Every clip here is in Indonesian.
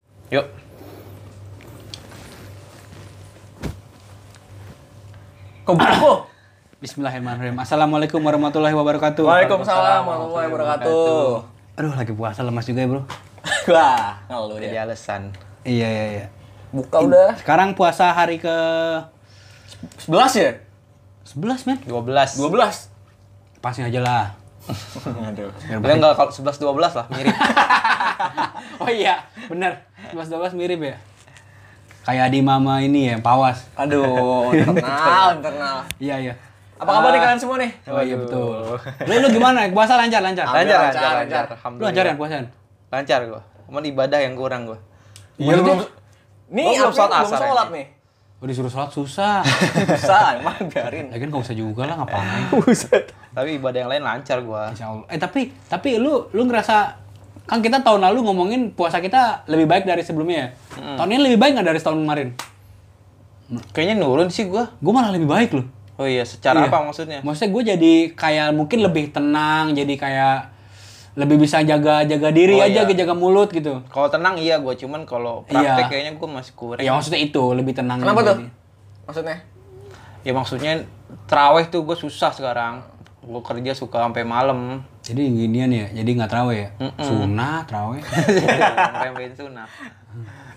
Kok buku? Bismillahirrahmanirrahim. Assalamualaikum warahmatullahi wabarakatuh. Waalaikumsalam warahmatullahi wabarakatuh. Aduh, lagi puasa lemas juga ya, Bro. Wah, ngeluh Jadi dia. alasan. Iya, iya, iya. Buka udah Sekarang puasa hari ke 11 ya? 11, men. 12. 12. Pasin aja lah. Aduh. Dia enggak kalau 11 12 lah mirip. Oh iya, bener. 11 12 mirip ya. Kayak di mama ini ya, Pawas. Aduh, internal, internal. Iya, iya. Apa kabar nih kalian semua nih? Oh iya betul. Lu, lu gimana? Puasa lancar, lancar. Lancar, lancar, lancar, lancar, lancar. lancar. Lu lancar ya puasa? Lancar gua. Cuman ibadah yang kurang gua. Iya, belum. Nih, Gua belum belum sholat sholat asar Belum sholat ini. nih. Gua disuruh sholat susah. Susah, emang biarin. Lagian gak usah juga lah ngapain. Buset. Tapi ibadah yang lain lancar gua. Insya Allah. Eh tapi tapi lu lu ngerasa kan kita tahun lalu ngomongin puasa kita lebih baik dari sebelumnya. ya? Tahun ini lebih baik nggak dari tahun kemarin? Kayaknya nurun sih gua. Gue malah lebih baik loh. Oh iya, secara Iya. apa maksudnya? Maksudnya gue jadi kayak mungkin lebih tenang, jadi kayak lebih bisa jaga jaga diri Oh, aja, iya. jaga mulut gitu. Kalau tenang iya gua, cuman kalau Iya. praktek kayaknya gua masih kurang. Ya maksudnya itu lebih tenang. Kenapa gitu. tuh? Maksudnya? Ya maksudnya traweh tuh gua susah sekarang. Gua kerja suka sampai malam. Jadi ginian ya, jadi nggak terawih ya? Sunnah terawih. Sampai sunnah.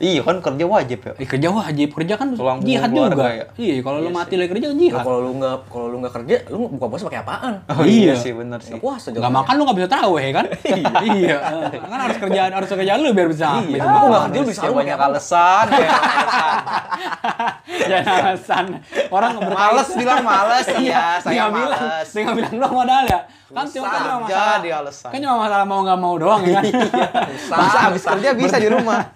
Iya kan kerja wajib ya. Eh, kerja wajib, kerja kan Tulang punggung jihad juga. keluarga ya. Iya, kalau lu mati lagi kerja kan jihad. Kalau lu nggak kalau lu nggak kerja, lu buka puasa pakai apaan? Oh, iya. sih bener sih. Nggak puasa Gak juga. makan lu gak bisa tahu ya kan? iya. Kan harus kerjaan harus kerjaan lu biar bisa. Iya. Aku nggak kerja Dia lu bisa bisa lu pakai banyak apa? alasan, kayak alasan. Jangan Ya, alasan. Orang berkali- Males bilang males, iya Dia saya nggak bilang, males. dia nggak bilang doang modal ya. Kan cuma kan Susah cuma aja masalah. dia alasan. Iya. Kan cuma masalah mau nggak mau doang ya kan. Masa Ah, abis kerja bisa di rumah?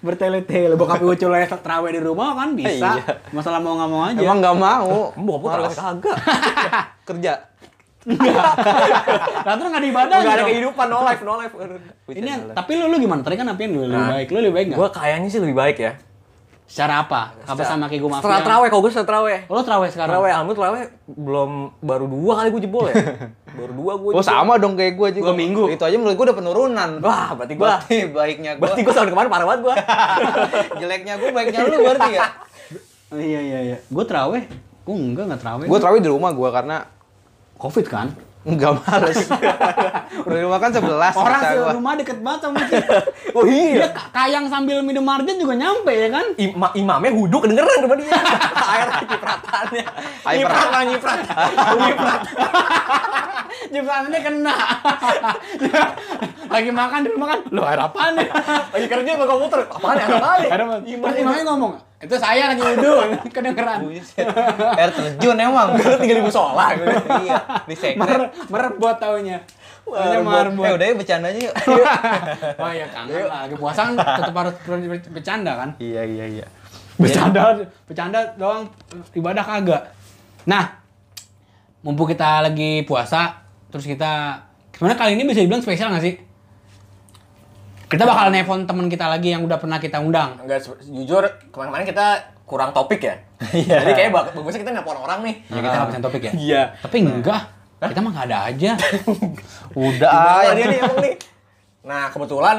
Bertele-tele bokap gue culai terawih di rumah kan bisa. Iya. Masalah mau nggak mau aja. Emang nggak mau. Mau apa Males. kagak? kerja. Nah, terus nggak diibadah Nggak ada dong. kehidupan, no life, no life. Ini yang- tapi lu lu gimana? Tadi kan apian lu lebih baik. Lu lebih baik nggak? Gue kayaknya sih lebih baik ya. Secara apa? Apa sama kayak gue Setelah mafia? terawih, kalau gue setelah terawih. Lu terawih sekarang? Terawih, alhamdulillah terawih belum baru dua kali gue jebol ya. baru dua gue Oh sama dong kayak gue Dua juga. minggu. Itu aja menurut gue udah penurunan. Wah, berarti gue. Berarti baiknya gue. Berarti gue tahun kemarin parah banget gue. Jeleknya gue, baiknya lu berarti ya. Iya iya iya. Gue terawih. Gue enggak nggak terawih. Gue terawih di rumah gue karena covid kan? nggak males. Udah di rumah kan sebelas. Orang sih gua. rumah deket banget sama masjid. oh Dia iya. ka- kayang sambil minum margin juga nyampe ya kan? Ima- imamnya hudu kedengeran sama dia. Air cipratannya. Air Nyiprat lah nyiprat. Nyiprat. Jebakannya kena. Lagi makan di rumah kan, lo air apaan ya? Lagi kerja sama komputer. Apaan ya? Apaan ya? Air apaan? Terus imamnya ngomong, itu saya lagi wudhu, kedengeran. Buset. Air terjun emang. Lu tinggal di musola. gitu. Iya. Di sekret. Mer merebot taunya. Taunya marbot. Eh udah ya bercandanya yuk. Oh iya kangen lah, lagi puasa kan tetap harus ber- ber- bercanda kan? iya iya iya. bercanda bercanda doang ibadah kagak nah mumpung kita lagi puasa terus kita sebenarnya kali ini bisa dibilang spesial nggak sih kita bakal nelpon teman kita lagi yang udah pernah kita undang Enggak, se- jujur kemarin-kemarin kita kurang topik ya. Iya. Jadi kayaknya bak- bagusnya kita nelpon orang nih. ya kita habisan topik ya Iya. tapi enggak kita mah nggak ada aja Udah. ah, Gimana ya. dia Ah, ayo. iya nih emang nih? Nah, kebetulan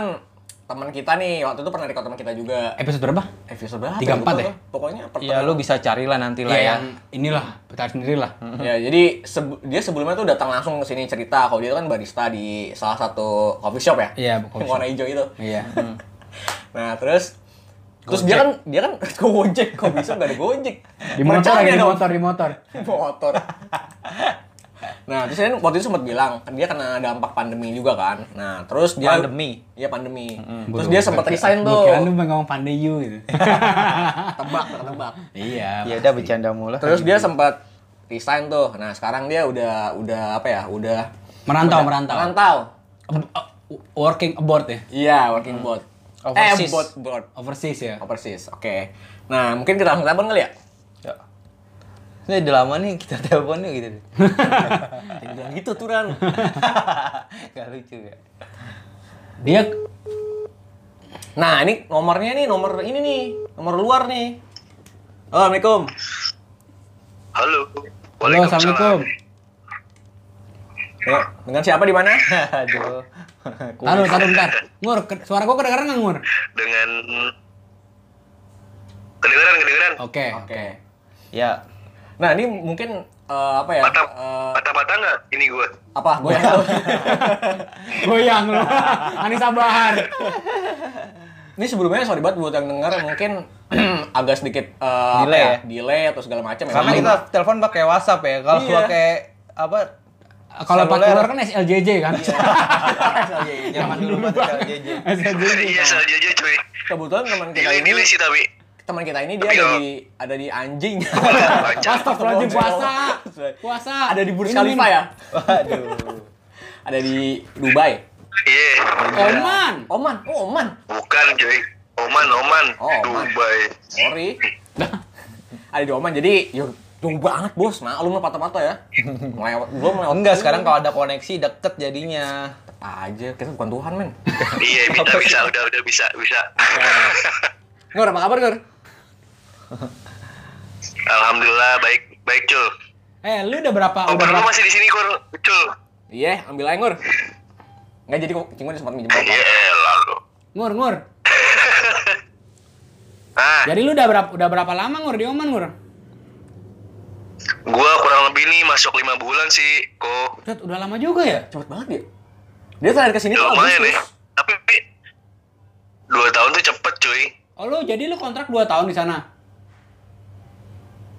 teman kita nih waktu itu pernah record teman kita juga episode berapa episode berapa? Tiga empat Lupa ya? gua. Pokoknya Ya pertama. lu bisa carilah Iya, nanti lah ya ya. yang inilah kita sendiri lah Ya, jadi seb- dia sebelumnya tuh datang langsung ke sini cerita kalau dia kan barista di salah satu coffee shop ya. Iya, coffee Yang warna hijau itu. iya Hmm. Nah, terus terus dia kan dia kan ke Gojek, coffee shop gak ada Gojek. di motor lagi Pecahnya di dong. motor di motor motor. Nah, terus dia waktu itu sempat bilang kan dia kena dampak pandemi juga kan. Nah, terus dia Pandemi? Iya, pandemi. Terus dia sempat resign Gua kira lu tuh. pengen ngomong pandai you gitu Tebak, tebak. iya Ya udah bercanda mulu. Terus dia sempat resign tuh. Nah, sekarang dia udah udah apa ya? Udah merantau udah- merantau Merantau. Ab- uh, working abroad ya Iya, working board. Hmm. Overseas. Eh, board, board. overseas ya Overseas. Oke. Nah, mungkin kita langsung telepon kali ya? Ya. Ini udah lama nih kita telepon yuk gitu. Jangan bilang gitu tuh, Ran. Gak lucu ya. dia Nah, ini nomornya nih, nomor ini nih, nomor luar nih. Oh, Assalamualaikum. Halo. halo assalamualaikum Ya, dengan siapa di mana? Aduh. taruh taruh bentar ngur ke- suara gua kedengeran nggak ngur Dengan kedengeran kedengeran. oke Oke. Ya. Nah ini mungkin eh, apa ya? Patah, eh, patah-patah nggak ini gue? apa gue yang tahu. Goyang lu. Anissa Bahar. ini sebelumnya sorry banget buat yang denger mungkin agak sedikit eh, apa Delay ya, ya? delay atau segala macam. Karena Memang- kita telepon pakai WhatsApp ya. Kalau Iya. pakai apa? Kalau empat Seluler. keluar kan SLJJ kan. Iya. Zaman dulu banget JJ. SLJJ. Iya, saja aja cuy. kebetulan teman kita ini Nilai-nilai sih tapi. teman kita ini dia Tapi ada kalau- di ada di anjing. Baca. Astagfirullahaladzim puasa. Sorry. Puasa. Iya. ada di Burj Ini, Khalifa ini. ya? Waduh. ada di Dubai. Iya. Oman. Oman. Oh, Oman. Bukan cuy. Oman, Oman. Oh, Oman. Oh. Dubai. Sorry. ada di Oman. Jadi ya jauh banget bos, maklum lah patah-patah ya. Melewat, gua melewat Oh, Enggak, sekarang kalau ada koneksi deket jadinya. aja, kita bukan Tuhan men. Iya, bisa, bisa. Udah, udah bisa, bisa. Ngur, apa kabar Ngur? Alhamdulillah, baik. Baik, Cul. Eh, lu udah berapa? Oh, Udah lu berapa? masih di sini, Kur. Cul. Iya, ambil aja Ngur. Nggak jadi kok, cinggu sempat minjem Iya, bapak. lalu. Ngur, ngur. Ah, Jadi lu udah berapa udah berapa lama ngur di Oman, ngur? gua kurang lebih nih masuk lima bulan sih, kok. Cet, udah lama juga ya? Cepet banget ya. Dia terakhir kesini Ya tuh lumayan ya. Agustus. Tapi dua tahun tuh cepet cuy. Oh, lu jadi lu kontrak 2 tahun di sana.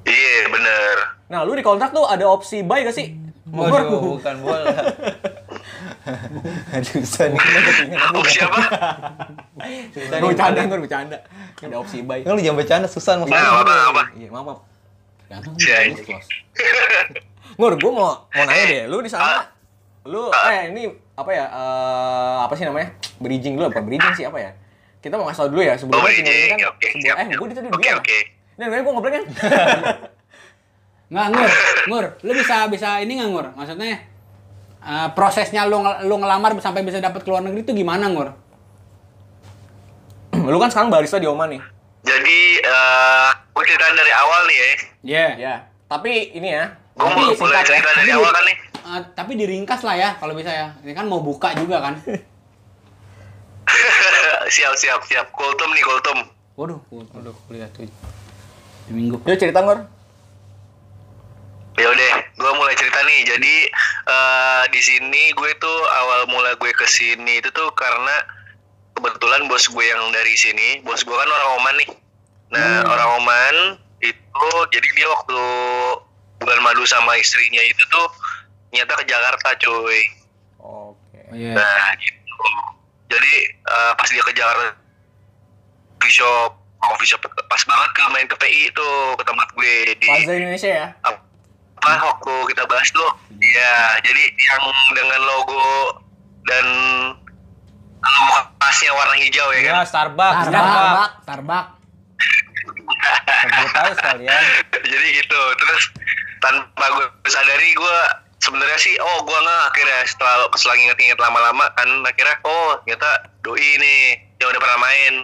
Iya bener. Nah, lu di kontrak tuh ada opsi buy gak sih? Waduh, bukan bola. Aduh, San, ini ketinggalan. Oh siapa? Gue bercanda, gue bercanda. Ada opsi buy. Kan lu jangan bercanda, Susan Nah, maksudnya. Eh, apa apa? Ya, Iya, maaf, maaf. Ganteng, Si bagus, anjing. bos. Ngur, gue mau mau Eh, nanya deh, lu di sana lu eh ini apa ya? eh, apa sih namanya? Bridging dulu apa bridging sih apa ya? Kita mau ngasih tau dulu ya sebelum Oh ini, oke siap. eh gue tadi Oke duluan. oke. Ini namanya gue ngobrol kan? Nggak, ngur, ngur. Lu bisa bisa ini nggak ngur? Maksudnya eh, prosesnya lu ngel- lu ngelamar sampai bisa dapat ke luar negeri itu gimana ngur? lu kan sekarang barista di Oman nih. Jadi eh gue ceritain dari awal nih ya. Iya. Ya. Tapi ini ya. Gue tapi mau mulai singkat ya. Oh, cerita dari awal kan nih. Eh, tapi diringkas lah ya kalau bisa ya. Ini kan mau buka juga kan. siap siap siap. Kultum nih kultum. Waduh, waduh kuliah tuh. Di minggu. Yuk cerita Ngur. Ya udah, gue mulai cerita nih. Jadi eh di sini gue tuh awal mula gue kesini itu tuh karena kebetulan bos gue yang dari sini, bos gue kan orang Oman nih. Nah orang Oman itu jadi dia waktu bulan madu sama istrinya itu tuh nyata ke Jakarta cuy. Oke. Oh, iya. Nah gitu. Jadi eh, pas dia ke Jakarta coffee shop, coffee shop pas banget ke main ke PI itu ke tempat gue di Plaza Indonesia ya. apa waktu kita bahas tuh ya jadi yang dengan logo dan logo khasnya warna hijau ya kan Ya, Starbucks, Starbucks. Tarbak, tarbak. Sebut tahu sekalian. jadi gitu terus tanpa gue sadari gue sebenarnya sih oh gue nggak akhirnya setelah setelah inget-inget lama-lama kan akhirnya oh ternyata doi nih yang udah pernah main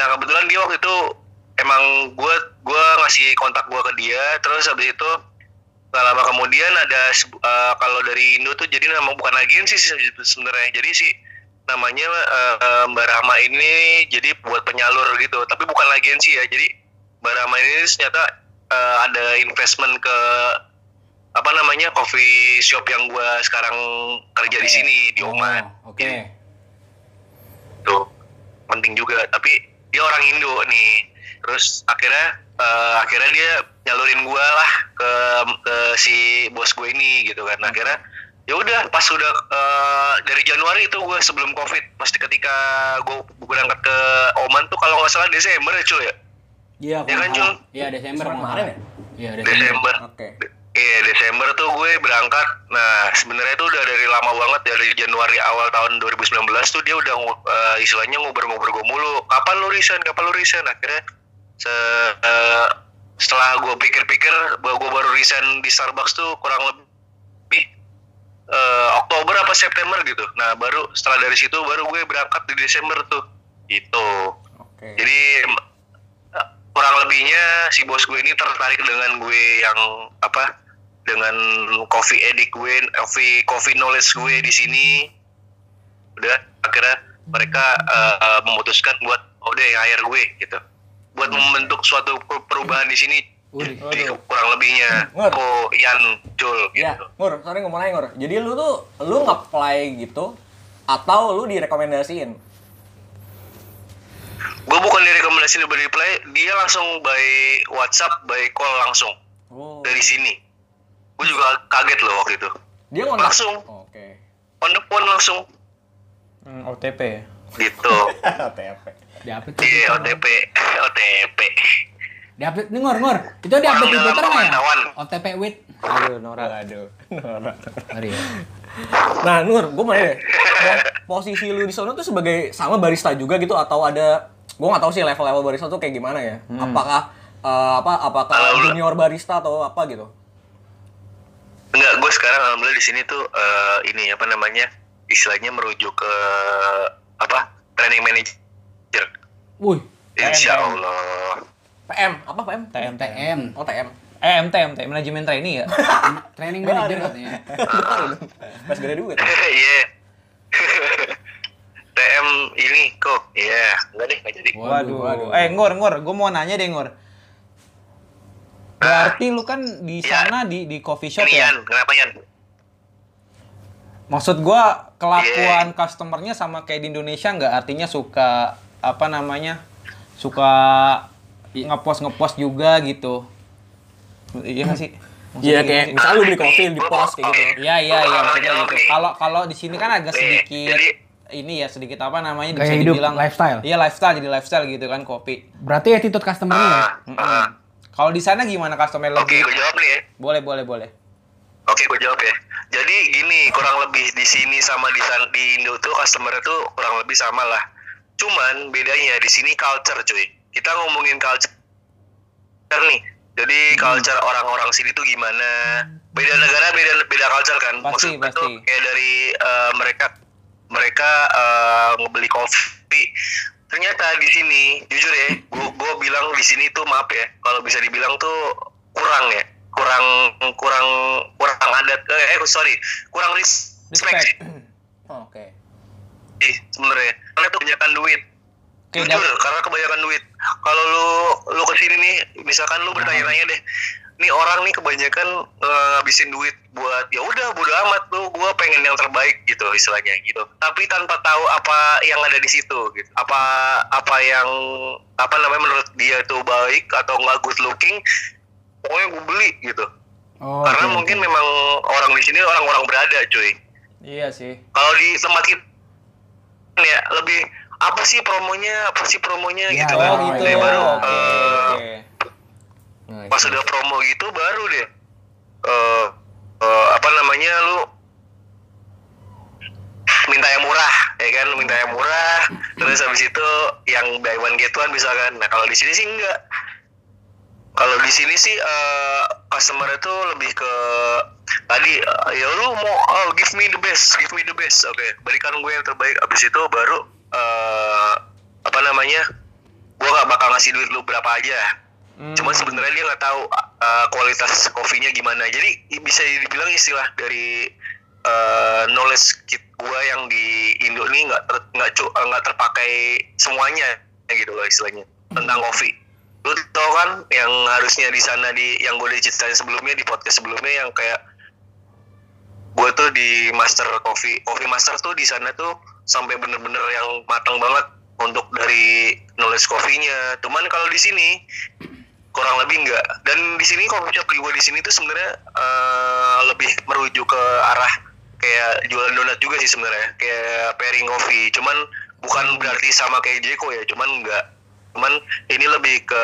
nah kebetulan dia waktu itu emang gue gue ngasih kontak gue ke dia terus habis itu Gak lama kemudian ada sebu- eh, kalau dari Indo tuh jadi nama bukan agensi sih se- sebenarnya. Jadi si namanya eh, eh, Mbak Rahma ini jadi buat penyalur gitu, tapi bukan agensi ya. Jadi Mbak Rahma ini ternyata eh, ada investment ke apa namanya coffee shop yang gua sekarang kerja di sini di Oman. Oh, Oke. Jadi tuh Gitu. penting juga tapi dia orang Indo nih terus akhirnya eh, akhirnya dia nyalurin gua lah ke ke si bos gue ini gitu kan akhirnya ya udah pas sudah eh, dari Januari itu gua sebelum covid pasti ketika gua berangkat ke Oman tuh kalau nggak salah Desember ya cuy ya Iya, Ya kan, Oh, kalau- Jul? Iya, Desember Kemarin kemarin. ya? Iya, Desember. Desember Oke. De- Iya Desember tuh gue berangkat. Nah sebenarnya tuh udah dari lama banget dari Januari awal tahun 2019 tuh dia udah ngu- eh, istilahnya ngobrol-ngobrol gue mulu. Kapan lu resign? Kapan lu resign? Akhirnya se- eh, setelah gue pikir-pikir bahwa gue baru resign di Starbucks tuh kurang lebih eh, Oktober apa September gitu. Nah baru setelah dari situ baru gue berangkat di Desember tuh. Gitu. Itu. Oke. Jadi em- eh, kurang lebihnya si bos gue ini tertarik dengan gue yang apa dengan coffee edik gue, coffee coffee knowledge gue di sini. Udah akhirnya mereka eh, eh, memutuskan buat oh deh hire gue gitu. Buat membentuk suatu per- perubahan di sini Waduh. Jadi kurang lebihnya Ngur. Ko Yan Jul gitu. Ya, Ngur, sorry ngomong aja Ngur. Jadi lu tuh, lu nge-apply gitu, atau lu direkomendasiin? Gue bukan direkomendasi dari play, dia langsung by WhatsApp, by call langsung Oh. dari sini. Gue juga kaget loh waktu itu. Dia ngontak? Langsung. Oke. On the phone langsung Hmm, OTP ya? gitu. TP. Di update. Iya OTP, OTP. Di update nih ngor ngor. Itu di update di Orang dalam Twitter nggak ya? pemantauan. OTP with. Aduh, Nora. Aduh, Nora. Mari ya. Nah, Nur, gue mau nanya deh. Nah, Posisi lu di sana tuh sebagai sama barista juga gitu atau ada gue nggak tahu sih level-level barista tuh kayak gimana ya. Apakah eh, apa apakah Kalau lu- junior barista atau apa gitu? Enggak, gue sekarang alhamdulillah di sini tuh eh, ini apa namanya? Istilahnya merujuk ke apa? Training manager. Wih. Insya TM. Allah. PM, apa PM? TM. TM. Oh, TM. Eh, MT, MT, manajemen trainee ya? Training manager katanya. Baru dong. Mas gede duit. Iya. TM ini kok. Iya, enggak deh, enggak jadi. Waduh. Waduh. Eh, Ngor, Ngor, gue mau nanya deh, Ngor. Berarti lu kan di Ya. sana di di coffee shop Ini ya? Yan, kenapa Yan? Maksud gua kelakuan customernya sama kayak di Indonesia nggak? Artinya suka apa namanya? Suka ngepost ngepost juga gitu. Iya nggak sih? Maksudnya Iya, gitu kayak sih? misalnya Ah, lu beli kopi di pos kayak gitu. Iya iya iya. Kalau maksudnya jawab gitu. nih. Kalau kalau di sini kan agak Nih, sedikit jadi- ini ya sedikit apa namanya Gaya bisa hidup, dibilang lifestyle. Iya lifestyle jadi lifestyle gitu kan kopi. Berarti attitude customer-nya ya? Ah, ah. Kalau di sana gimana customer Oke, lebih? gue jawab nih ya. Boleh boleh boleh. Oke, gue jawab ya. Jadi gini, kurang lebih di sini sama di san- di Indo tuh customer tuh kurang lebih sama lah. Cuman bedanya di sini culture, cuy. Kita ngomongin culture nih. Jadi Hmm. culture orang-orang sini tuh gimana? Beda negara, beda beda culture kan. Pasti, Maksudnya tuh pasti. kayak dari eh, mereka mereka eh, ngebeli kopi. Ternyata di sini, jujur ya, gua, gua bilang di sini tuh maaf ya, kalau bisa dibilang tuh kurang ya, kurang kurang kurang adat. Eh, eh, sorry, kurang res- respect, Respect. sih Oh, Oke. sih sebenarnya. Karena tuh kebanyakan duit. Oke, Jujur, dap- karena kebanyakan duit. Kalau lu lu kesini nih, misalkan lu bertanya-tanya deh, nih orang nih kebanyakan eh, ngabisin duit buat ya udah bodo amat lu, gua pengen yang terbaik gitu istilahnya gitu. Tapi tanpa tahu apa yang ada di situ gitu. Apa apa yang apa namanya menurut dia itu baik atau nggak good looking, pokoknya gue beli gitu. Oh, karena oke. mungkin memang orang di sini orang-orang berada, cuy Iya sih. kalau di tempat kita ya lebih apa sih promonya apa sih promonya Ya, gitu Oh, kan Oh gitu. Jadi iya. baru Oke eh, oke. Nice. pas udah promo gitu baru deh eh, eh, apa namanya lu minta yang murah ya kan Lu minta yang murah terus habis itu yang buy one get one misalkan nah kalau di sini sih enggak kalau di sini sih eh, customer itu lebih ke tadi eh, ya lu mau oh, give me the best, give me the best. Oke, berikan gue yang terbaik. Abis itu baru eh, apa namanya? Gue gak bakal ngasih duit lu berapa aja. Cuma sebenarnya dia nggak tahu eh, kualitas kopinya gimana. Jadi i- bisa dibilang istilah dari eh, knowledge kit gue yang di Indo ini nggak ter, nggak cu- eh, nggak terpakai semuanya gitu loh istilahnya tentang kopi lu tau kan yang harusnya di sana di yang gue udah ceritain sebelumnya di podcast sebelumnya yang kayak gue tuh di master coffee coffee master tuh di sana tuh sampai bener-bener yang matang banget untuk dari nulis kopinya cuman kalau di sini kurang lebih enggak dan di sini coffee shop gue di sini tuh sebenarnya eh, lebih merujuk ke arah kayak jualan donat juga sih sebenarnya kayak pairing coffee cuman bukan berarti sama kayak Jeko ya cuman enggak cuman ini lebih ke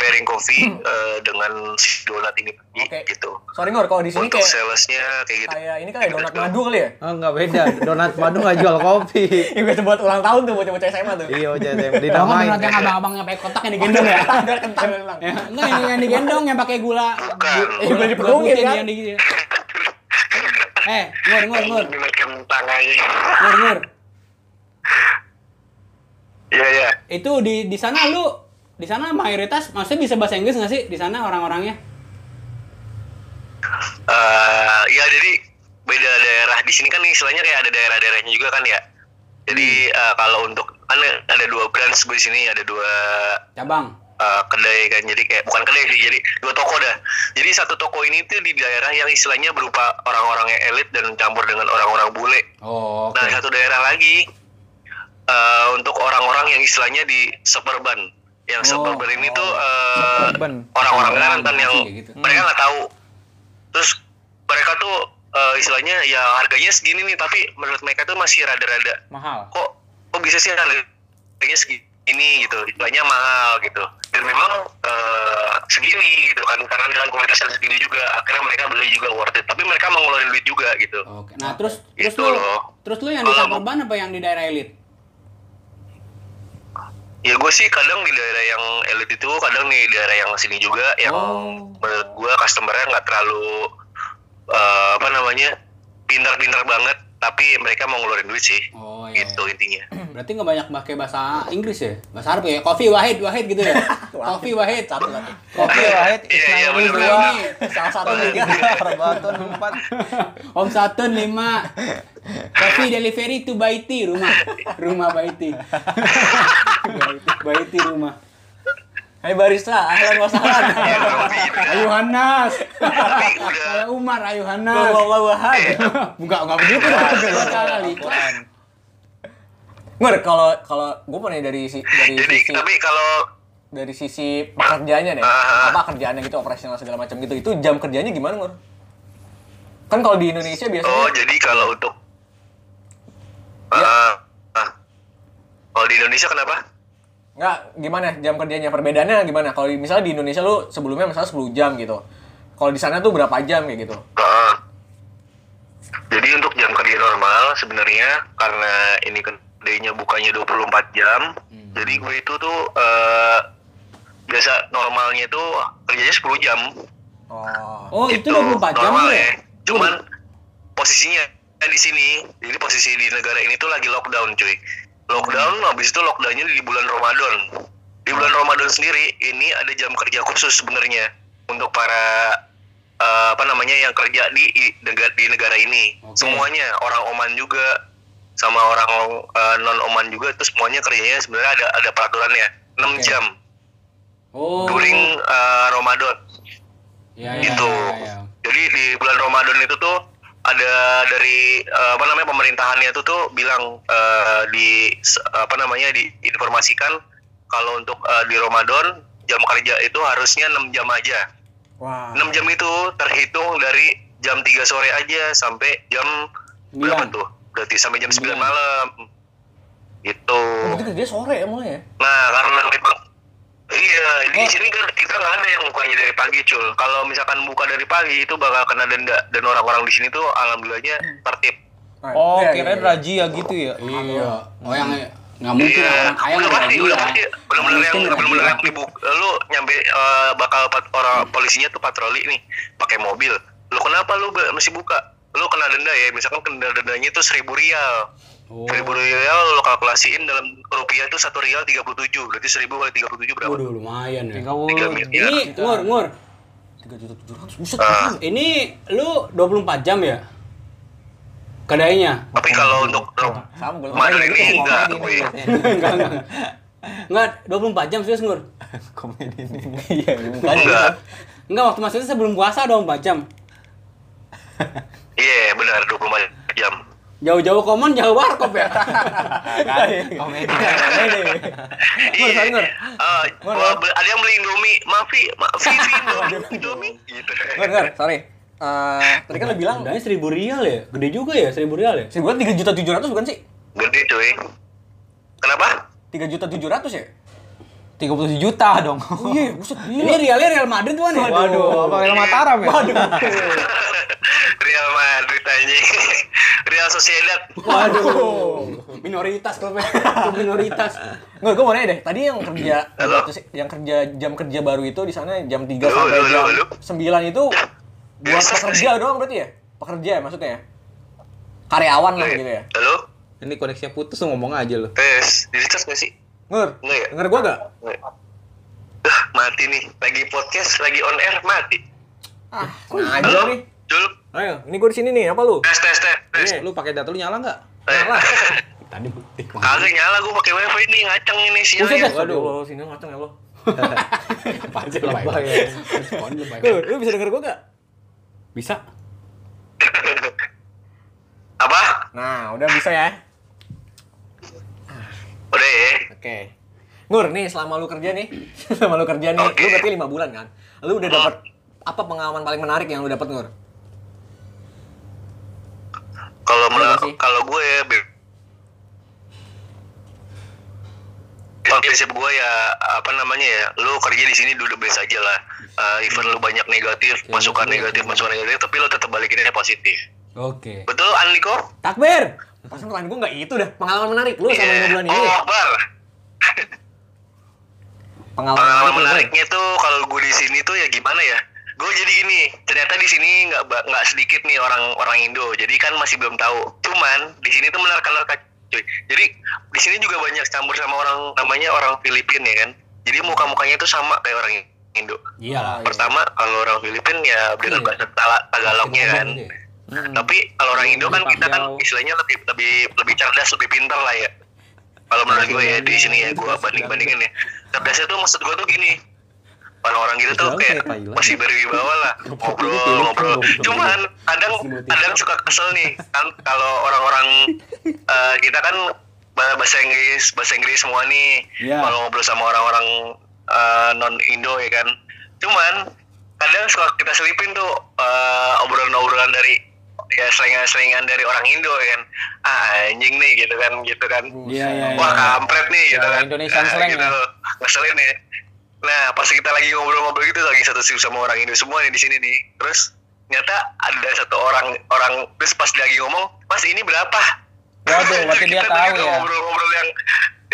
pairing coffee eh, dengan si donat ini Hmm. Oke. gitu Sorry Ngur, kalau di sini untuk kayak salesnya kayak gitu kayak ini kayak donat madu kali ya? Oh nggak beda. Donat madu nggak jual kopi. Iya, biasa buat ulang tahun tuh bocah-bocah SMA tuh. Iya JTM Kalau nggak dinamain. menurut yang abang-abang yang pakai kotak yang digendong ya? Ada kentang bilang. Ya, Enggak, yang, yang digendong yang pakai gula. Bukan. Gu- Gula gula dipelukin, putih kan? Yang di, eh, ngur, ngur, ngur. Ini kentang aja. Ngur, ngur. Iya, iya. Itu di di sana lu di sana mayoritas maksudnya bisa bahasa Inggris nggak sih di sana orang-orangnya? Eh, ya jadi beda daerah di sini kan istilahnya kayak ada daerah-daerahnya juga kan ya. Jadi eh, kalau untuk kan ada dua branch gue di sini ada dua Cabang. eh, kedai kan jadi kayak bukan kedai sih jadi dua toko dah jadi satu toko ini tuh di daerah yang istilahnya berupa orang-orang yang elit dan campur dengan orang-orang bule Oh, oke. nah satu daerah lagi eh, untuk orang-orang yang istilahnya di suburban yang Oh, suburban ini tuh eh, Suburban. orang-orang kanan kan yang Kayak gitu. mereka nggak tahu terus mereka tuh eh, istilahnya ya harganya segini nih tapi menurut mereka tuh masih rada-rada mahal. kok kok bisa sih harganya segini gitu istilahnya mahal gitu dan memang eh, segini gitu kan karena dengan kualitas yang segini juga akhirnya mereka beli juga worth it tapi mereka mau ngeluarin duit juga gitu Oke. Nah, terus terus Gitu lu loh. terus lu yang di Kalau- suburban apa yang di daerah elit? ya gue sih kadang di daerah yang elit itu kadang di daerah yang sini juga yang Oh. menurut gue customernya nggak terlalu eh, apa namanya pintar-pintar banget tapi mereka mau ngeluarin duit sih Oh, iya, gitu intinya Berarti nggak banyak pakai bahasa Inggris ya? Bahasa Arab ya? Coffee Wahid, Wahid gitu ya? Coffee Wahid. Satu lagi. Oke, Wahid, Iya, iya, Ismail bener-bener. dua, Ini salah satu tiga, tiga. Perbatun empat. Om Satun lima. Coffee delivery to Baiti rumah. Rumah Baiti. Baiti, Baiti rumah. Hai barista, ahlan wa sahlan. Ya, kurang lebih gitu. Ayu Hanas. tapi udah Saya Umar Ayu Hanas. Wallahu ahad. Enggak, enggak begitu. Dua kali. Ngur, kalau kalau gue pernah dari si dari Iya, jadi sisi tapi kalau dari sisi pekerjaannya deh. Ah. Apa kerjaannya gitu, operasional segala macam gitu. Itu jam kerjanya gimana, Ngur? Kan kalau di Indonesia Iya, biasanya Oh, jadi kalau untuk Ya. Iya. Ah, ah. Kalau di Indonesia kenapa? Nggak, gimana jam kerjanya? Perbedaannya gimana? Kalau di- misalnya di Indonesia lu sebelumnya misalnya 10 jam gitu. Kalau di sana tuh berapa jam kayak gitu? Ah. Jadi untuk jam kerja normal sebenarnya karena ini kedainya bukanya 24 jam. Jadi gue itu tuh eh, biasa normalnya itu kerjanya 10 jam. Oh, Oh. itu 24 jam normal ya? ya. Cuman posisinya di sini. Jadi posisi di negara ini tuh lagi lockdown, cuy. Lockdown Hmm. habis itu lockdownnya di bulan Ramadan. Di bulan Ramadan sendiri ini ada jam kerja khusus sebenarnya untuk para eh, apa namanya yang kerja di i- negara di negara ini. Oke. Semuanya orang Oman juga sama orang non Oman juga itu semuanya kerjanya sebenarnya ada ada peraturannya 6 Oke. jam Oh. during eh, Ramadan Ya, ya, gitu. ya, ya. Jadi di bulan Ramadan itu tuh ada dari eh, apa namanya pemerintahannya itu tuh bilang eh, di s- apa namanya diinformasikan kalau untuk eh, di Ramadan jam kerja itu harusnya 6 jam aja. Wah. Ah. 6 jam itu terhitung dari jam 3 sore aja sampai jam berapa Sembilan. tuh? Berarti sampai jam 9 Sembilan. malam. Gitu. Itu kerja sore ya mulai ya? Nah, karena memang iya di Eh. sini kan kita nggak ada yang bukanya dari pagi cul. Kalau misalkan buka dari pagi itu bakal kena denda dan orang-orang di sini tuh alhamdulillahnya Hmm. tertib. Nah, Oh, iya, iya, kirain iya. razia gitu ya. Iya. Oh, yang nggak mungkin orang kaya Iya. udah nggak pasti, razia. udah pasti. Bener-bener Nggak yang mungkin bener-bener yang razia. dibuk- lu nyampe eh, bakal pat- orang polisinya tuh patroli nih pakai mobil. Lu kenapa lu ba- masih buka? Lu kena denda ya, misalkan kena dendanya tuh seribu rial. Oh. Seribu rial lu kalkulasiin dalam rupiah tuh satu rial tiga puluh tujuh. Berarti seribu kali tiga puluh tujuh berapa? Waduh, lumayan ya. Tiga puluh. Tiga miliar. Ini ngur ngur. 3.700. Buset. Ah. Ini lu 24 jam ya? Kedainya. Tapi kalau untuk Sama gue. Madrid ini enggak, gue. Enggak, enggak. Enggak, 24 jam serius ngur. Komedi ini. Iya, bukan. Enggak. Enggak, waktu maksudnya sebelum puasa 24 jam. Iya, benar 24 jam. Jauh-jauh komon, jauh warkop ya. Komedi. iya, Iya. Nur, Nur. Ah, wah, be- ada yang beli Indomie, Mafi, Mafi, Indomie. Gitu. Ngur, ngur, sorry. Eh, tadi kan lu bilang Dendanya 1000 rial ya? Gede juga ya 1000 rial ya? sih bukan tiga juta tujuh ratus bukan sih? Gede cuy. Kenapa? Tiga juta tujuh ratus ya? Tiga puluh juta dong. Oh iya, buset Ini gila. realnya Real Madrid tuan ya? Waduh, apa Real Mataram ya? Waduh. Real Madrid aja. Real Sociedad. Waduh. Minoritas klubnya. Klub minoritas. Nggak, gue mau nanya deh. Tadi yang kerja Halo? itu sih, yang kerja jam kerja baru itu di sana jam 3 Halo, sampai halo, jam halo. 9 itu buat Yes. pekerja doang berarti ya? Pekerja ya maksudnya ya? Karyawan lah Iya. gitu ya. Halo? Ini koneksinya putus lu ngomong aja lu. Tes, di recharge nggak sih? Ngur, Nggak ya? denger gua gak? Nggak. Dah, mati nih. Lagi podcast, lagi on air, mati. Ah, nah aja Halo? nih. Jul? Ayo, ini gue di sini nih, apa lu? Tes, tes, tes. tes. Iya. Lu pakai data lu nyala nggak? Eh. Tadi butik Kagak nyala gue pakai wifi nih ngaceng ini Buset sinyalnya. dah. Oh, iya. Waduh, lo sini ngaceng ya lo. Apa aja lebay. Lebay. Respon lebay. Tuh, lu bisa denger gua gak? Bisa. Apa? Nah, udah bisa ya. Udah ya. Oke. Nur, nih selama lu kerja Eh. nih, selama lu kerja nih, Oke. lu berarti lima bulan kan? Lu udah dapat apa pengalaman paling menarik yang lu dapat Nur? Kalau Ada nggak menurut sih? kalau gue ya Beb. Kalau prinsip gue ya apa namanya ya, lu kerja di sini dulu best aja lah. Eh, even lu banyak negatif, masukan negatif, masukan negatif, tapi lu tetap balikinnya positif. Oke. Betul Andiko? Takbir. Pas pertanyaan gua nggak gitu. itu dah. Pengalaman menarik lu selama lima bulan ini. Oh, Akbar. Pengalaman, pengalaman menarik lu, menariknya tuh kalau gue di sini tuh ya gimana ya gue jadi gini ternyata di sini nggak ba- nggak sedikit nih orang orang Indo jadi kan masih belum tahu cuman di sini tuh menarik menarik cuy jadi di sini juga banyak campur sama orang namanya orang Filipin ya kan jadi muka mukanya tuh sama kayak orang Indo Iya. Nah, pertama kalau orang Filipin ya dengan Iya. bahasa Tala- Tagalognya kan Iya. tapi kalau orang Indo kan kita kan Parsial. istilahnya lebih lebih lebih cerdas lebih pintar lah ya kalau menurut gue ya di sini ya gue banding bandingin ya cerdasnya tuh maksud gue tuh gini orang-orang gitu tuh Padahal kayak kayak Thailand. masih berwibawa lah ngobrol ngobrol cuman kadang kadang suka kesel nih kan kalau orang-orang eh, kita kan bah- bahasa Inggris bahasa Inggris semua nih Iya. kalau ngobrol sama orang-orang non Indo ya kan cuman kadang suka kita selipin tuh eh, obrolan-obrolan dari ya selingan-selingan dari orang Indo ya kan ah anjing nih gitu kan gitu kan Iya, iya, wah iya. kampret nih gitu Ya, kan Indonesian Nah, slang gitu ya. loh. ngeselin ya nah pas kita lagi ngobrol-ngobrol gitu lagi satu sip sama orang Indo semua nih di sini nih terus nyata ada satu orang orang terus pas dia lagi ngomong mas ini berapa Waduh, berarti dia Kita tahu tuh gitu, ya. ngobrol-ngobrol yang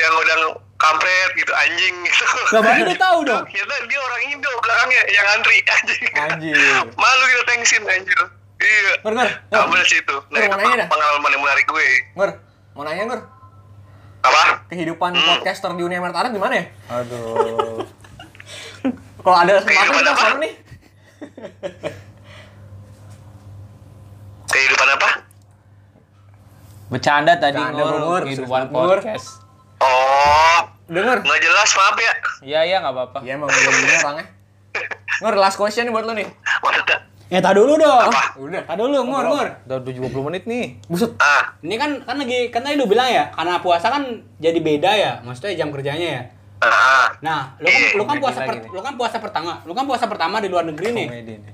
yang udah kampret gitu anjing gitu Lah berarti dia tahu dong. ternyata dia orang Indo belakangnya yang antri anjing Anjir. malu kita tengsin anjir iya Nur, Nur, Nur, Kamu sih itu. Nah, Nur, itu mau nanya dah. pengalaman yang menarik gue. Nur, mau nanya Nur, Apa? kehidupan Hmm. podcaster di Uni Emirat Arab gimana ya? Aduh. Kalau ada kesempatan Kehidupan kita apa? kesana nih. Kehidupan apa? Bercanda tadi Bercanda, Bur. ngor kehidupan Serius, Bur. podcast. Oh, Dengar. nggak jelas maaf ya. Iya iya nggak apa-apa. Iya emang udah begini orangnya. Nur, last question nih buat lu nih. Maksudnya, Eh, tak dulu dong. Apa? Udah. Tak dulu, ngur, ngur. Udah 70 menit nih. Buset. ah, Ini kan kan lagi kan tadi lu bilang ya, karena puasa kan jadi beda ya, maksudnya jam kerjanya ya. ah, ah. Nah, lu kan Iya, lu kan komedi puasa lagi per- nih. lu kan puasa pertama, lu kan puasa pertama di luar negeri nih. Komedi nih.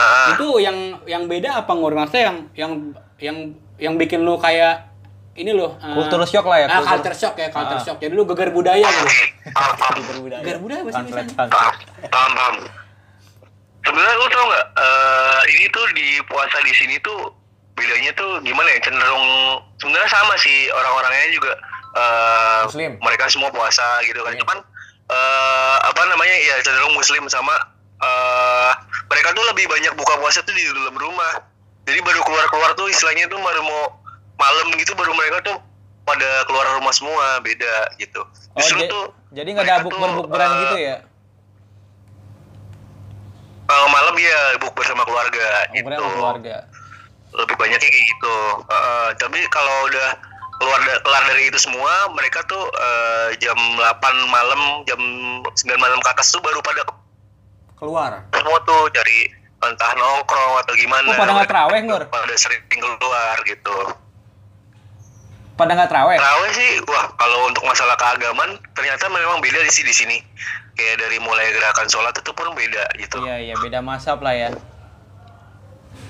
ah. Itu yang yang beda apa ngur maksudnya yang yang yang yang bikin lu kayak ini loh. eh, Culture shock lah ya, ah, culture- culture shock ya, culture Ah. shock. Jadi lu geger budaya Kan, gitu. Eh, Paham, paham, Geger budaya apa sih Translate, misalnya? translate. paham, paham. Sebenarnya lu tau nggak? eh, ini tuh di puasa di sini tuh bedanya tuh gimana ya? Cenderung sebenarnya sama sih orang-orangnya juga. eh, Muslim. Mereka semua puasa gitu Iya. kan. Cuman eh, apa namanya? Ya cenderung Muslim sama eh, mereka tuh lebih banyak buka puasa tuh di dalam rumah. Jadi baru keluar-keluar tuh istilahnya tuh baru mau malam gitu baru mereka tuh pada keluar rumah semua beda gitu. Oh, Justru ja- tuh jadi nggak mereka ada buk tuh, berbukberan eh, gitu ya? Kalau malam ya bukber sama keluarga gitu. Bukberan sama keluarga. Lebih banyaknya kayak gitu. Heeh, tapi kalau udah keluar da- kelar dari itu semua, mereka tuh eh, jam 8 malam, jam 9 malam ke atas tuh baru pada Keluar. ketemu tuh cari entah nongkrong atau gimana. Oh, pada nggak teraweh, Nur? Pada sering keluar gitu. Pada nggak teraweh? Terawih sih, wah kalau untuk masalah keagamaan ternyata memang beda di sini di sini. Kayak dari mulai gerakan sholat itu pun beda gitu. Iya iya beda masab lah ya.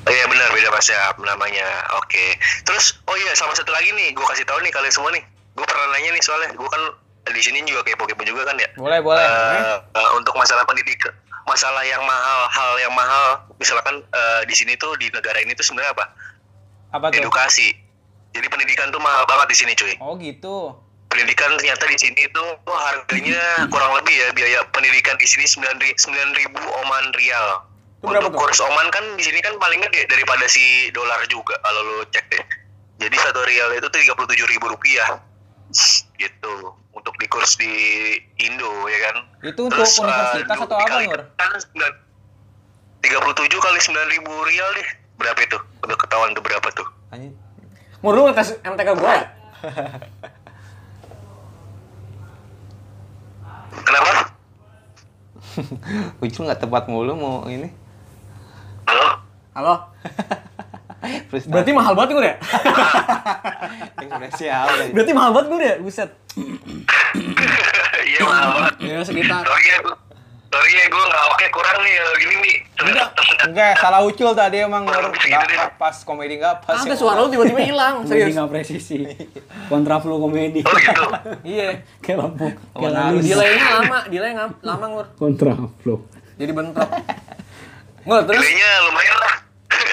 Oh iya benar beda WhatsApp namanya. Oke. Terus oh iya sama satu lagi nih, gue kasih tahu nih kalian semua nih. Gue pernah nanya nih soalnya, gue kan di sini juga kepo-kepo juga kan ya. Boleh boleh. Eh, eh, untuk masalah pendidikan, masalah yang mahal, hal yang mahal, misalkan eh, di sini tuh di negara ini tuh sebenarnya apa? Apa tuh? Edukasi. Jadi pendidikan tuh mahal banget di sini cuy. Oh gitu. Pendidikan ternyata di sini tuh oh, harganya kurang lebih ya biaya pendidikan di sini sembilan ribu oman rial. Itu berapa Untuk tuh? kurs oman kan di sini kan paling gede daripada si dolar juga kalau lo cek deh. Jadi satu rial itu tiga puluh tujuh ribu rupiah gitu untuk di kurs di Indo ya kan. eh, Itu untuk universitas atau apa, Nur? Tiga puluh tujuh kali sembilan ribu rial deh berapa itu? Udah ketahuan tuh berapa tuh? Anjir. Mur lu ngetes MTK gua ya? Kenapa? Ucul nggak tepat mulu mau ini. Halo? Halo? Freestyle. Berarti mahal banget gue ya? ekspresi apa ya? Berarti mahal banget gue ya? Buset. Iya mahal banget. Ya sekitar. Sorry ya, gua- sorry ya gue nggak oke kurang nih kalau gini nih. Enggak, salah ucul tadi emang Orang Nur. segini Nggak deh. pas komedi nggak pas. ya. Sampai suara lu tiba-tiba hilang, Komedi serius. nggak presisi. Kontraflow komedi. Oh gitu. Iya. Kayak lampu. Kayak Oh, lampu. nah, Delay-nya lama, delay ngam- lama ngur. Kontraflow. Jadi bentrok. Ngur terus Nilainya lumayan lah.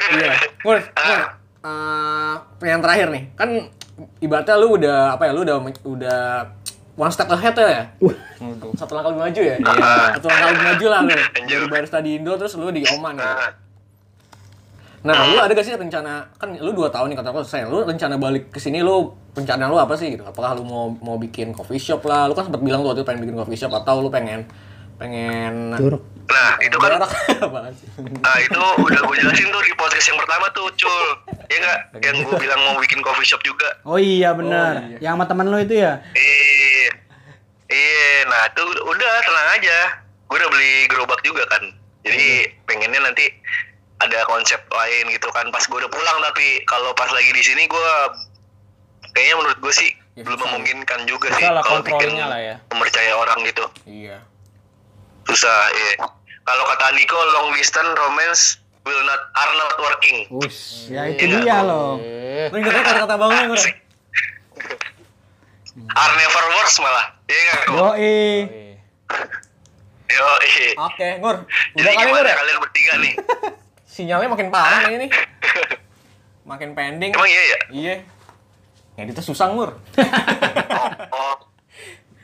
Iya. Mur, Mur. Eh, yang terakhir nih, kan ibaratnya lu udah apa ya? Lu udah udah one step ahead ya? Satu langkah lebih maju ya? Satu langkah lebih maju lah lu. Dari barista di Indo terus lu di Oman ya. Ah. Nah, lu ada gak sih rencana kan lu 2 tahun nih kata aku selesai. Lu rencana balik ke sini lu rencana lu apa sih gitu? Apakah lu mau mau bikin coffee shop lah? Lu kan sempat bilang tuh waktu itu pengen bikin coffee shop atau lu pengen pengen Jorok. Nah itu kan Berak. Apaan sih? Nah itu udah gue jelasin tuh di podcast yang pertama tuh Cul Ya nggak? Yang gue bilang mau bikin coffee shop juga Oh iya benar. Yang sama teman lo itu ya? Iya Iya nah itu udah tenang aja Gue udah beli gerobak juga kan Jadi Iya. pengennya nanti ada konsep lain gitu kan Pas gue udah pulang tapi kalau pas lagi di sini gue Kayaknya menurut gue sih belum memungkinkan juga sih Ya, Susah lah kalau bikin kontrolnya lah ya. mempercaya orang gitu Iya. susah iya. kalau kata Andiko long distance romance will not are not working Ush, ya itu dia loh. Lu ingetnya kata-kata bangun yang udah. Hmm. are never works malah iya nggak Ko? Yoi. yo iya Oke, Ngur. jadi Udah kali Ngur gimana ya? kalian bertiga nih Sinyalnya makin parah kayaknya nih. Makin pending. emang iya ya Iya. Ya kita susah Ngur. oh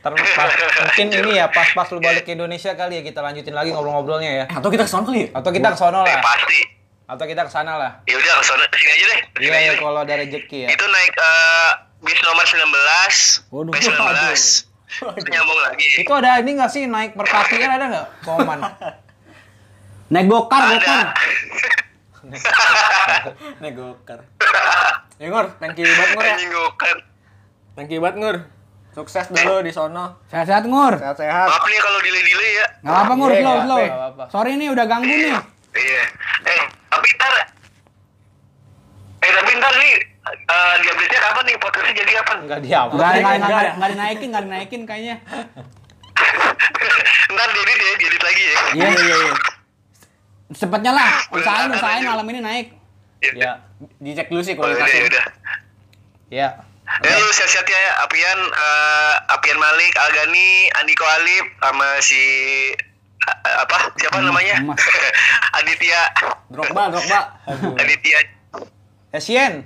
Ntar pas- mungkin ini ya pas-pas lu balik ke Indonesia kali ya kita lanjutin lagi ngobrol-ngobrolnya ya. Eh, atau kita kesana kali ya? Atau kita ke sono eh, lah. pasti Atau kita ke sana lah. ya udah kesana sini aja deh Sini Iya aja ya deh. kalau ada rezeki ya. itu naik eh, bis nomor 19 Waduh. bis 19 Itu nyambung lagi Itu ada ini nggak sih naik merpatian ada nggak? Koman. Naik gokar, gokar. ada Negoker. Ya Ngur, thank you banget Ngur ya. anjing gue kan Thank you banget Ngur. Sukses dulu di sono. Sehat-sehat ngur. Sehat-sehat. maaf nih kalau delay-delay ya Gak apa-apa ngur, Iya, slow, nggak slow. apa-apa. Sorry nih udah ganggu nih. Iya. Eh, tapi ntar Eh, tapi ntar nih eh, di update-nya kapan nih? Podcastnya jadi kapan? Nggak diam. Gak, Oke, gak, enggak gak, ya. gak dinaikin, gak dinaikin kayaknya. ntar diedit ya, diedit lagi ya. Iya, iya, iya. Cepetnya lah, usahain, Beneran, usahain anjing. malam ini naik. Iya. Iya. Ya. Dicek dulu sih Oh, udah, kualitasnya. udah. Ya. Eh, lu siap-siap ya, Apian, eh, Apian Malik, Algani, Andiko Alip, sama si a- a- apa siapa namanya Mas. Aditya Drogba, Drogba. Aditya Eh, Esien.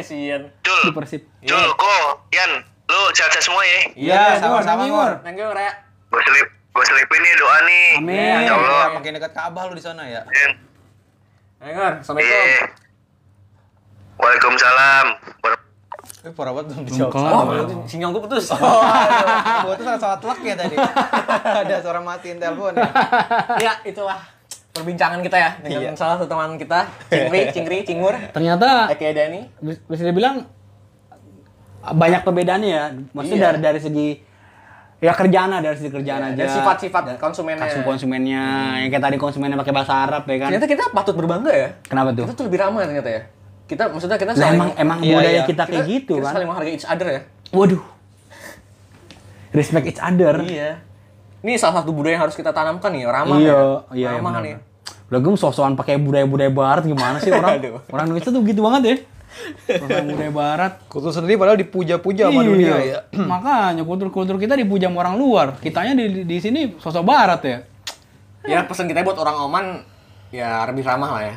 Sian. Jul Di Persib. Jul Ko Yan lu sehat-sehat semua ya Iya, Iya, Ngur, sama-sama thank you, Ngur. Ngur. Thank you, Raya. gue selip gue selipin nih doa nih Amin. ya Allah Iya, Makin dekat Ka'bah lu di sana ya. Yan. Ya, Ngur, Assalamualaikum. Iya. Waalaikumsalam. Eh, parah banget belum dijawab. Ngur. Oh, sinyal gue putus. Oh, aduh. Gua tuh sangat sangat luck ya tadi. Ada suara matiin telepon ya. ya itulah perbincangan kita ya dengan Iya. salah satu teman kita Cingri Cingri Cingur Ternyata, Aka Dani bis- bisa dibilang banyak perbedaannya ya. Maksudnya Iya. dari dari segi ya kerjaan lah, dari segi kerjaan aja. dan sifat-sifat konsumennya Kasum konsumennya, yang kayak tadi konsumennya pakai bahasa Arab ya kan. ternyata kita patut berbangga ya Kenapa tuh? kita tuh lebih ramah ternyata ya kita maksudnya kita Lah saling emang emang Iya, budaya iya. kita kayak kita- gitu kita kan. saling menghargai each other ya Waduh. Respect each other. iya ini salah satu budaya yang harus kita tanamkan nih ramah iya, ya. iya, ramah benar. nih Udah gue sosokan pakai budaya-budaya barat gimana sih orang Aduh. orang Indonesia tuh gitu banget ya. Orang budaya barat. Kutu sendiri padahal dipuja-puja sama dunia ya. Iya. Makanya kultur-kultur kita dipuja sama orang luar. Kitanya di, di sini sosok barat ya. ya pesan kita buat orang Oman ya lebih ramah lah ya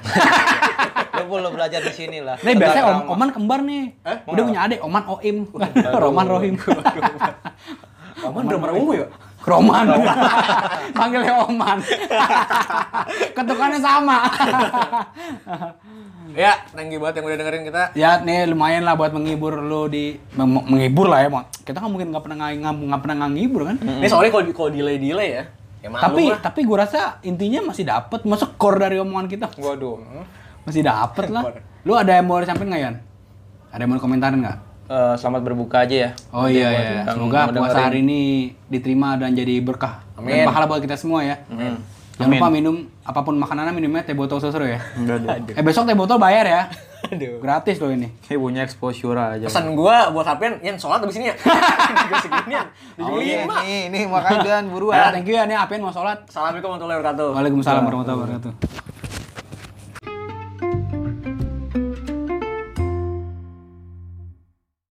Lu perlu belajar di sini lah. Nih biasanya Tentang om, agama. Oman kembar nih. Udah punya adik Oman Oim. Roman Rohim. Oman udah merungu ya Roman. Panggilnya Oman. Ketukannya sama. ya thank you banget yang udah dengerin kita ya nih lumayan lah buat menghibur lo di mem- menghibur lah ya Mon. kita kan mungkin nggak pernah nggak nggak- nggak pernah ngehibur kan ini soalnya kalau kalau delay delay ya ya malu tapi lah. tapi gue rasa intinya masih dapet masa core dari omongan kita Waduh. masih dapet lah lu ada yang mau disampaikan nggak Yan Ada yang mau komentarin nggak? Eh, selamat berbuka aja ya. Oh iya buat iya. yang Semoga mau puasa dengerin. hari ini diterima dan jadi berkah Amin. dan pahala buat kita semua ya. Hmm. Jangan lupa minum apapun makanannya minumnya teh botol susu ya. Aduh. Eh besok teh botol bayar ya. Gratis loh ini. Kayak punya exposure aja. Pesan gua buat Sapian, Yan sholat abis ini ya. Juga seginian. Oh, Jam iya, lima. nih, nih makanya dan buruan. Thank you ya nih Apian mau sholat. Assalamualaikum warahmatullahi wabarakatuh. Waalaikumsalam warahmatullahi wabarakatuh.